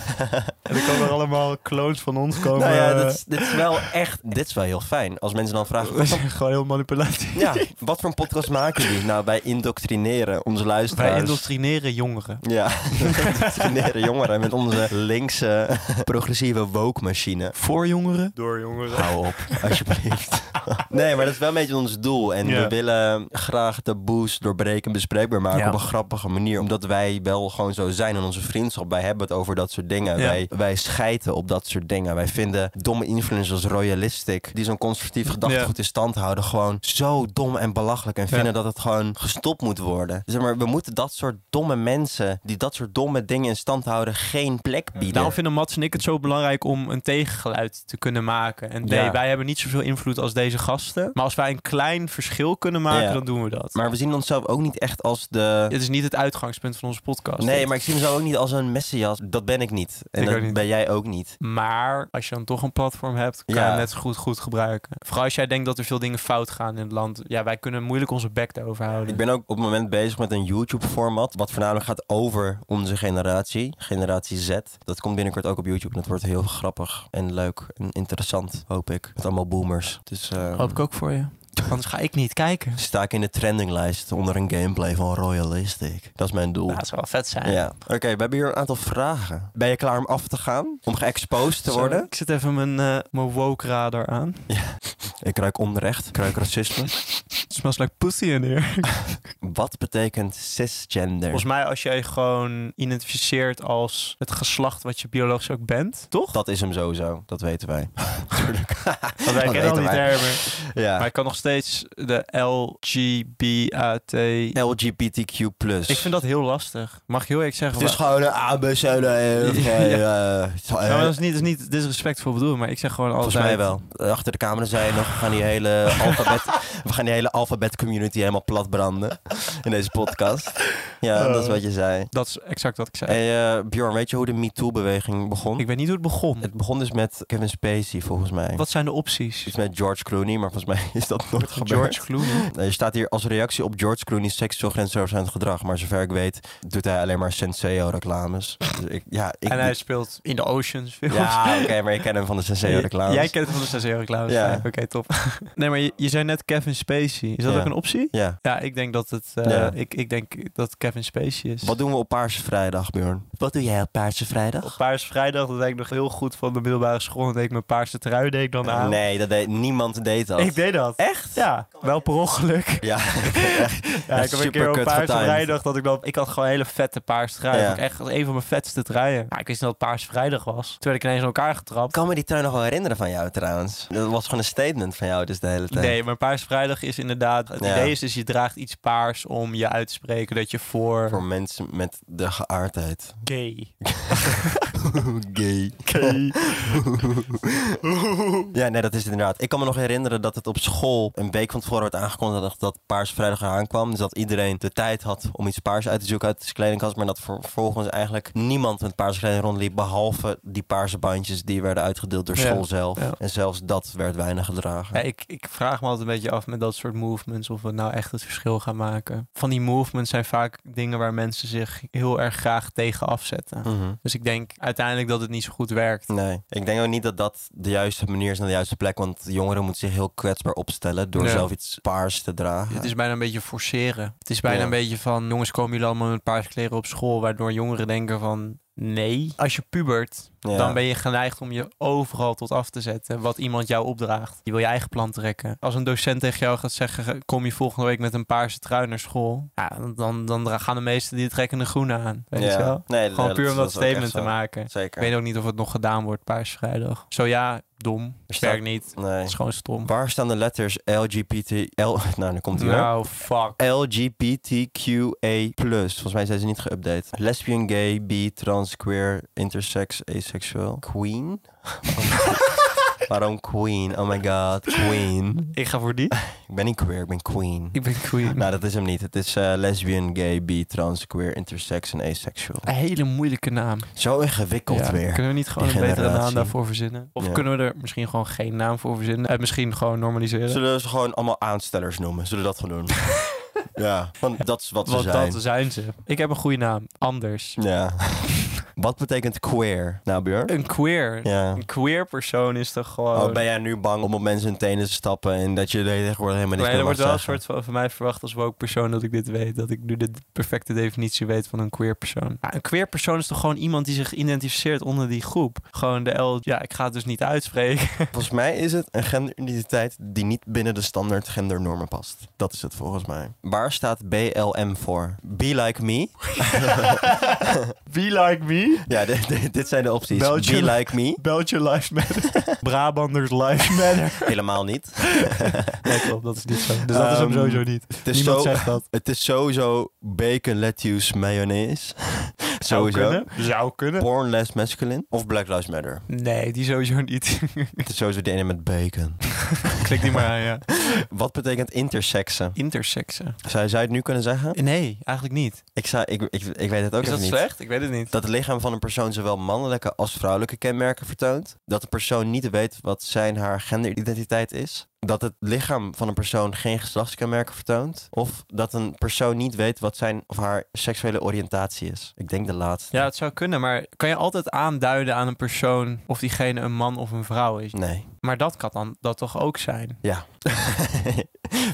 S2: en dan komen er allemaal clones van ons komen.
S1: nou ja,
S2: eh,
S1: dit is, dit is wel echt... Dit is wel heel fijn. Als mensen dan vragen...
S2: (laughs) We zijn gewoon heel manipulatief.
S1: Ja, wat voor een podcast maken jullie? Nou, wij indoctrineren onze luisteraars.
S2: Wij indoctrineren jongeren.
S1: Ja, (laughs) indoctrineren jongeren met onze linkse progressieve woke-machine.
S2: Voor jongeren? Door jongeren.
S1: Hou op, alsjeblieft. (laughs) Nee, maar dat is wel een beetje ons doel. En
S2: Ja.
S1: we willen graag taboes doorbreken en bespreekbaar maken
S2: Ja.
S1: op een grappige manier. Omdat wij wel gewoon zo zijn in onze vriendschap. Wij hebben het over dat soort dingen.
S2: Ja.
S1: Wij, wij schijten op dat soort dingen. Wij vinden domme influencers als royalistic, die zo'n conservatief gedachtegoed in stand houden, gewoon zo dom en belachelijk. En vinden dat het gewoon gestopt moet worden. Zeg maar, we moeten dat soort domme mensen, die dat soort domme dingen in stand houden, geen plek bieden.
S2: Daarom vinden Mats en ik het zo belangrijk om een tegengeluid te kunnen maken. En nee,
S1: Ja.
S2: wij hebben niet zoveel invloed als deze gasten. Maar als wij een klein verschil kunnen maken,
S1: Ja.
S2: dan doen we dat.
S1: maar we zien onszelf ook niet echt als de
S2: Het is niet het uitgangspunt van onze podcast.
S1: Nee, maar ik zie mezelf ook niet als een messias. Dat ben ik niet. En
S2: Ik
S1: dat
S2: ook niet.
S1: ben jij ook niet.
S2: Maar als je dan toch een platform hebt, kan
S1: Ja.
S2: je het net zo goed, goed gebruiken. Vooral als jij denkt dat er veel dingen fout gaan in het land. Ja, wij kunnen moeilijk onze bek daarover houden.
S1: Ik ben ook op het moment bezig met een YouTube-format. Wat voornamelijk gaat over onze generatie. Generatie Z. Dat komt binnenkort ook op YouTube. En dat wordt heel grappig en leuk en interessant, hoop ik. Met allemaal boomers. Dus eh,
S2: Hoop ik ook voor je. Anders ga ik niet kijken.
S1: sta ik in de trendinglijst onder een gameplay van Royalistic. Dat is mijn doel.
S2: Nou, dat zou wel vet zijn.
S1: Ja. Oké, we hebben hier een aantal vragen. Ben je klaar om af te gaan? Om geëxposed te
S2: Zo,
S1: worden?
S2: Ik zet even mijn, eh, mijn woke radar aan.
S1: Ik ruik onrecht. Ik ruik racisme.
S2: Het smells like pussy in hier.
S1: Wat betekent cisgender?
S2: Volgens mij als jij gewoon identificeert als het geslacht wat je biologisch ook bent, toch?
S1: Dat is hem sowieso, dat weten
S2: (laughs)
S1: wij.
S2: Want wij
S1: dat
S2: kennen al die
S1: weten wij.
S2: termen. Maar
S1: Ja.
S2: ik kan nog steeds de LGBAT...
S1: LGBTQ+.
S2: Ik vind dat heel lastig. Mag ik heel eerlijk zeggen?
S1: Het is
S2: maar-
S1: gewoon een ABC. E eh,
S2: Ja.
S1: Ja.
S2: Ja, maar dat is niet, dat is niet disrespectvol bedoel, maar ik zeg gewoon altijd...
S1: Volgens mij wel. Achter de camera zei je nog, we gaan die hele
S2: (laughs)
S1: alfabet, we gaan die hele alfabet community helemaal plat branden in deze podcast. Ja,
S2: Oh.
S1: dat is wat je zei.
S2: Dat is exact wat ik zei.
S1: Hey, eh, Bjorn, weet je hoe de MeToo-beweging begon?
S2: Ik weet niet hoe het begon.
S1: Het begon dus met Kevin Spacey, volgens mij.
S2: Wat zijn de opties?
S1: Iets met George Clooney, maar volgens mij is dat nooit gebeurd.
S2: George Clooney.
S1: Nou, Je staat hier als reactie op George Clooney's seksueel grensoverschrijdend gedrag. Maar zover ik weet doet hij alleen maar Senseo-reclames. (laughs) Dus ik, ja, ik,
S2: en hij speelt in de Oceans films.
S1: (laughs) ja oké, maar je kent hem van de Senseo-reclames.
S2: (laughs) Jij kent het van de 6 euro reclames.
S1: Ja.
S2: Ja. Oké, top. nee, maar je, je zei net Kevin Kevin Spacey. Is dat
S1: Ja.
S2: ook een optie?
S1: Ja.
S2: Ja, ik denk dat het. eh,
S1: Ja.
S2: ik, ik denk dat Kevin Spacey is.
S1: Wat doen we op Paarse Vrijdag, Bjorn? Wat doe jij op Paarse
S2: Op
S1: Vrijdag?
S2: Paars Vrijdag, dat deed ik nog heel goed van de middelbare school. En deed ik mijn paarse trui deed ik dan aan.
S1: Nee, dat deed, niemand deed (laughs) dat.
S2: Ik deed dat.
S1: Echt?
S2: Ja, wel per ongeluk. (laughs)
S1: Ja,
S2: Ja,
S1: Echt
S2: ik heb een keer
S1: superkut
S2: op Paarse
S1: getimed.
S2: Vrijdag dat ik dan... Ik had gewoon een hele vette Paarse trui.
S1: Ja.
S2: Dat was Echt een van mijn vetste truien. Maar ik wist niet dat het Paarse Vrijdag was. Toen werd ik ineens in elkaar
S1: Ik
S2: getrapt.
S1: kan me die trui nog wel herinneren van jou trouwens. Dat was gewoon een statement van jou dus de hele tijd.
S2: Nee, maar Paarse Vrijdag is inderdaad... Het
S1: Ja.
S2: idee is dus je draagt iets paars om je uit te spreken dat je voor...
S1: Voor mensen met de geaardheid.
S2: gay.
S1: (laughs) Gay. ja, nee, dat is het inderdaad. Ik kan me nog herinneren dat het op school een week van tevoren werd aangekondigd dat Paars Vrijdag eraan kwam. Dus dat iedereen de tijd had om iets paars uit te zoeken uit de kledingkast. Maar dat vervolgens eigenlijk niemand met paarse kleding rondliep. Behalve die paarse bandjes die werden uitgedeeld door
S2: Ja,
S1: school zelf.
S2: ja.
S1: En zelfs dat werd weinig gedragen.
S2: (laughs) Ja, ik, ik vraag me altijd een beetje af met dat soort movements of we nou echt het verschil gaan maken. Van die movements zijn vaak dingen waar mensen zich heel erg graag tegen afzetten.
S1: Mhm.
S2: Dus ik denk uiteindelijk dat het niet zo goed werkt.
S1: Nee, ik denk ook niet dat dat de juiste manier is naar de juiste plek. Want jongeren moeten zich heel kwetsbaar opstellen door
S2: Ja.
S1: zelf iets paars te dragen.
S2: Het is bijna een beetje forceren. Het is bijna
S1: Ja.
S2: een beetje van, jongens, komen jullie allemaal met paarse kleren op school? Waardoor jongeren denken van, nee. Als je pubert,
S1: Ja.
S2: dan ben je geneigd om je overal tot af te zetten wat iemand jou opdraagt. Je wil je eigen plan trekken. Als een docent tegen jou gaat zeggen, kom je volgende week met een paarse trui naar school? Ja, dan, dan, dan dra- gaan de meesten die trekken de groene aan. Weet je wel?
S1: Nee,
S2: Gewoon
S1: dat-
S2: puur om dat,
S1: is ook echt
S2: statement te
S1: zo.
S2: maken. Ik
S1: Zeker.
S2: weet ook niet of het nog gedaan wordt, Paarse Vrijdag. Zo ja, dom.
S1: Er staat-
S2: Werkt niet. Het
S1: Nee.
S2: is gewoon stom.
S1: Waar staan de letters LGBT... L... (laughs) Nou, dan komt hij weer.
S2: Nou, fuck.
S1: LGBTQA+. Volgens mij zijn ze niet geüpdate. Lesbian, gay, bi, trans, queer, intersex, asexual. Queen? (laughs) Waarom queen? Oh my god, queen.
S2: Ik ga
S1: (laughs)
S2: voor die.
S1: Ik ben niet queer, ik ben queen.
S2: Ik ben queen.
S1: Nou, dat is hem niet. Het is eh, lesbian, gay, bi, trans, queer, intersex en asexual.
S2: Een hele moeilijke naam.
S1: Zo ingewikkeld
S2: Ja,
S1: weer.
S2: Kunnen we niet gewoon
S1: Die
S2: een betere naam
S1: generatie.
S2: daarvoor verzinnen? Of
S1: Ja.
S2: kunnen we er misschien gewoon geen naam voor verzinnen? Eh, misschien gewoon normaliseren.
S1: Zullen we ze gewoon allemaal aanstellers noemen? Zullen we dat
S2: (laughs)
S1: gewoon doen? ja, want dat is wat ze
S2: Want
S1: zijn.
S2: dat zijn ze. Ik heb een goede naam. Anders. (laughs)
S1: Ja. wat betekent queer? Nou, Björn?
S2: Een queer.
S1: Ja.
S2: Een queer persoon is toch gewoon...
S1: Oh, ben jij nu bang om op mensen hun tenen te stappen en dat je de hele tegenwoordig helemaal niks
S2: Nee,
S1: meer
S2: er wordt
S1: mag
S2: wel een
S1: zeggen?
S2: soort van van mij verwacht als woke persoon dat ik dit weet. Dat ik nu de perfecte definitie weet van een queer persoon. Ja, een queer persoon is toch gewoon iemand die zich identificeert onder die groep. Gewoon de L. Ja, ik ga het dus niet uitspreken. (laughs)
S1: Volgens mij is het een genderidentiteit die niet binnen de standaard gendernormen past. Dat is het volgens mij. Waar staat BLM voor? Be like me? (laughs)
S2: Be like me.
S1: Ja, dit, dit- dit zijn de opties.
S2: Belgium.
S1: Be like
S2: (laughs)
S1: me?
S2: Belt your
S1: (laughs)
S2: life matter. Brabanders life matter.
S1: Helemaal niet.
S2: Nee, klopt, dat is niet zo. Dus dat is hem
S1: Ehm,
S2: sowieso niet.
S1: Het is
S2: Niemand
S1: zo-
S2: zegt dat.
S1: Het is sowieso bacon, lettuce, (laughs) mayonaise.
S2: Zou
S1: sowieso.
S2: kunnen. Zou kunnen.
S1: Born less masculine. Of Black Lives Matter.
S2: Nee, die sowieso niet. (laughs)
S1: Het is sowieso de ene met bacon. (laughs)
S2: Klik die maar aan, ja.
S1: Wat betekent intersexen?
S2: Intersexen.
S1: Zou, zou je het nu kunnen zeggen?
S2: Nee, eigenlijk niet.
S1: Ik, zou, ik, ik, ik weet het ook
S2: is
S1: even
S2: dat
S1: niet.
S2: slecht? Ik weet het niet.
S1: Dat het lichaam van een persoon zowel mannelijke als vrouwelijke kenmerken vertoont. Dat de persoon niet weet wat zijn haar genderidentiteit is. Dat het lichaam van een persoon geen geslachtskenmerken vertoont. Of dat een persoon niet weet wat zijn of haar seksuele oriëntatie is. Ik denk de laatste.
S2: Ja, het zou kunnen, maar kan je altijd aanduiden aan een persoon of diegene een man of een vrouw is?
S1: Nee. (laughs)
S2: Maar dat kan dan dat toch ook zijn?
S1: Ja.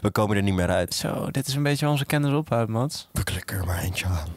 S1: We komen er niet meer uit.
S2: Zo, dit is een beetje onze kennis ophoudt, Mats.
S1: We klikken er maar eentje aan.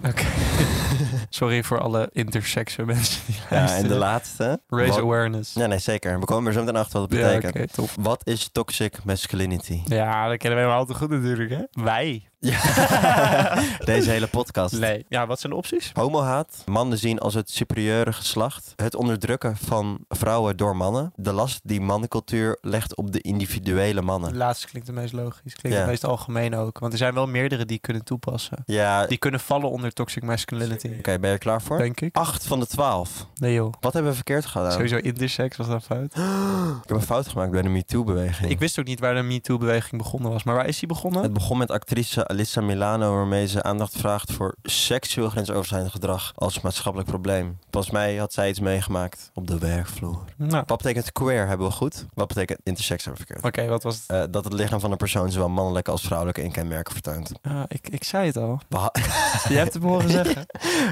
S2: Sorry voor alle intersexe mensen die
S1: (laughs) Ja, en
S2: luisteren.
S1: de laatste.
S2: Raise
S1: Wat-
S2: awareness.
S1: Ja, nee, zeker. We komen er zo meteen achter wat het
S2: Ja,
S1: betekent.
S2: oké, top.
S1: Wat is toxic masculinity? (laughs)
S2: Ja, dat kennen wij maar al te goed natuurlijk, hè? Wij?
S1: Ja.
S2: (laughs)
S1: Deze hele podcast.
S2: Nee. Ja, wat zijn de opties?
S1: Homohaat, mannen zien als het superieure geslacht, het onderdrukken van vrouwen door mannen, de last die mannencultuur legt op de individuele
S2: De
S1: mannen.
S2: laatste klinkt het meest logisch. Klinkt
S1: Ja.
S2: het meest algemeen ook. Want er zijn wel meerdere die kunnen toepassen.
S1: Ja, oké,
S2: Die kunnen vallen onder toxic masculinity.
S1: ben je er klaar voor?
S2: Denk ik.
S1: Acht van de twaalf.
S2: Nee joh.
S1: Wat hebben we verkeerd gedaan?
S2: Sowieso intersex was dat fout.
S1: (gasps) Ik heb een fout gemaakt bij de MeToo-beweging.
S2: Ik wist ook niet waar de MeToo-beweging begonnen was. Maar waar is die begonnen?
S1: Het begon met actrice Alyssa Milano waarmee ze aandacht vraagt voor seksueel grensoverschrijdend gedrag als maatschappelijk probleem. Volgens mij had zij iets meegemaakt op de werkvloer.
S2: Nou,
S1: Wat betekent queer hebben we goed? Wat betekent intersex hebben we verkeerd?
S2: oké, wat was het?
S1: Eh, dat het lichaam van een persoon zowel mannelijke als vrouwelijke inkenmerken vertoont.
S2: Ah, ik, ik zei het al.
S1: We ha-
S2: (laughs) Je hebt het me horen
S1: (laughs)
S2: zeggen.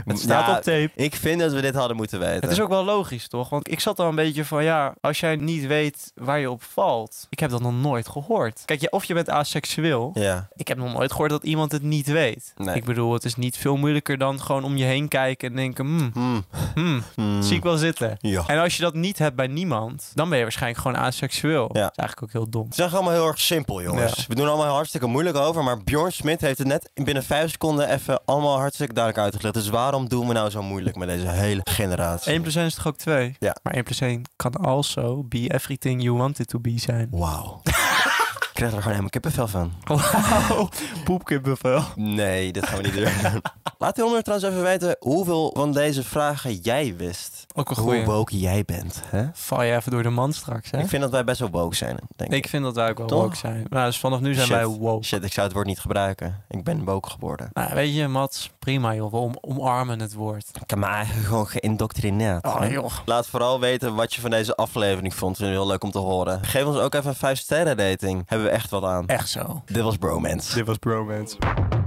S2: Het staat
S1: Ja, eh,
S2: op tape.
S1: Ik vind dat we dit hadden moeten weten.
S2: Het is ook wel logisch, toch? Want ik zat al een beetje van, ja, als jij niet weet waar je op valt. Ik heb dat nog nooit gehoord. Kijk, je, of je bent aseksueel.
S1: Ja,
S2: Ik heb nog nooit gehoord dat iemand het niet weet.
S1: nee.
S2: Ik bedoel, het is niet veel moeilijker dan gewoon om je heen kijken en denken, hmm,
S1: Hmm.
S2: hmm,
S1: Hmm.
S2: zie ik wel zitten.
S1: Ja.
S2: En als je dat niet hebt bij niemand, dan ben je waarschijnlijk gewoon aseksueel.
S1: Ja.
S2: Dat is eigenlijk ook heel dom.
S1: Het is echt allemaal heel erg simpel, jongens.
S2: Ja.
S1: We doen er allemaal hartstikke moeilijk over, maar Bjorn Smit heeft het net binnen vijf seconden even allemaal hartstikke duidelijk uitgelegd. Dus waarom doen we nou zo moeilijk met deze hele generatie?
S2: 1 plus 1 is toch ook 2?
S1: Ja.
S2: Maar 1 plus 1 kan also be everything you want it to be zijn.
S1: Wauw. (laughs) Ik krijg er gewoon helemaal kippenvel van.
S2: Wauw, poepkippenvel.
S1: Nee, dit gaan we niet doen. (laughs) Laat die onder trouwens even weten hoeveel van deze vragen jij wist.
S2: Ook een
S1: Hoe
S2: goeie.
S1: woke jij bent, hè?
S2: Val je even door de man straks, hè?
S1: Ik vind dat wij best wel woke zijn, denk ik.
S2: Ik vind dat wij ook wel
S1: Toch?
S2: woke zijn. Nou, dus vanaf nu zijn
S1: Shit.
S2: wij woke.
S1: Shit, ik zou het woord niet gebruiken. Ik ben woke geworden.
S2: Nou, weet je, Mats, prima joh, we om- omarmen het woord.
S1: Ik heb me eigenlijk gewoon geïndoctrineerd. hè?
S2: joh.
S1: Laat vooral weten wat je van deze aflevering vond. Vinden we heel leuk om te horen. Geef ons ook even een 5 sterren rating. Hebben we echt wat aan.
S2: Echt zo.
S1: Dit was Bromance.
S2: was bromance.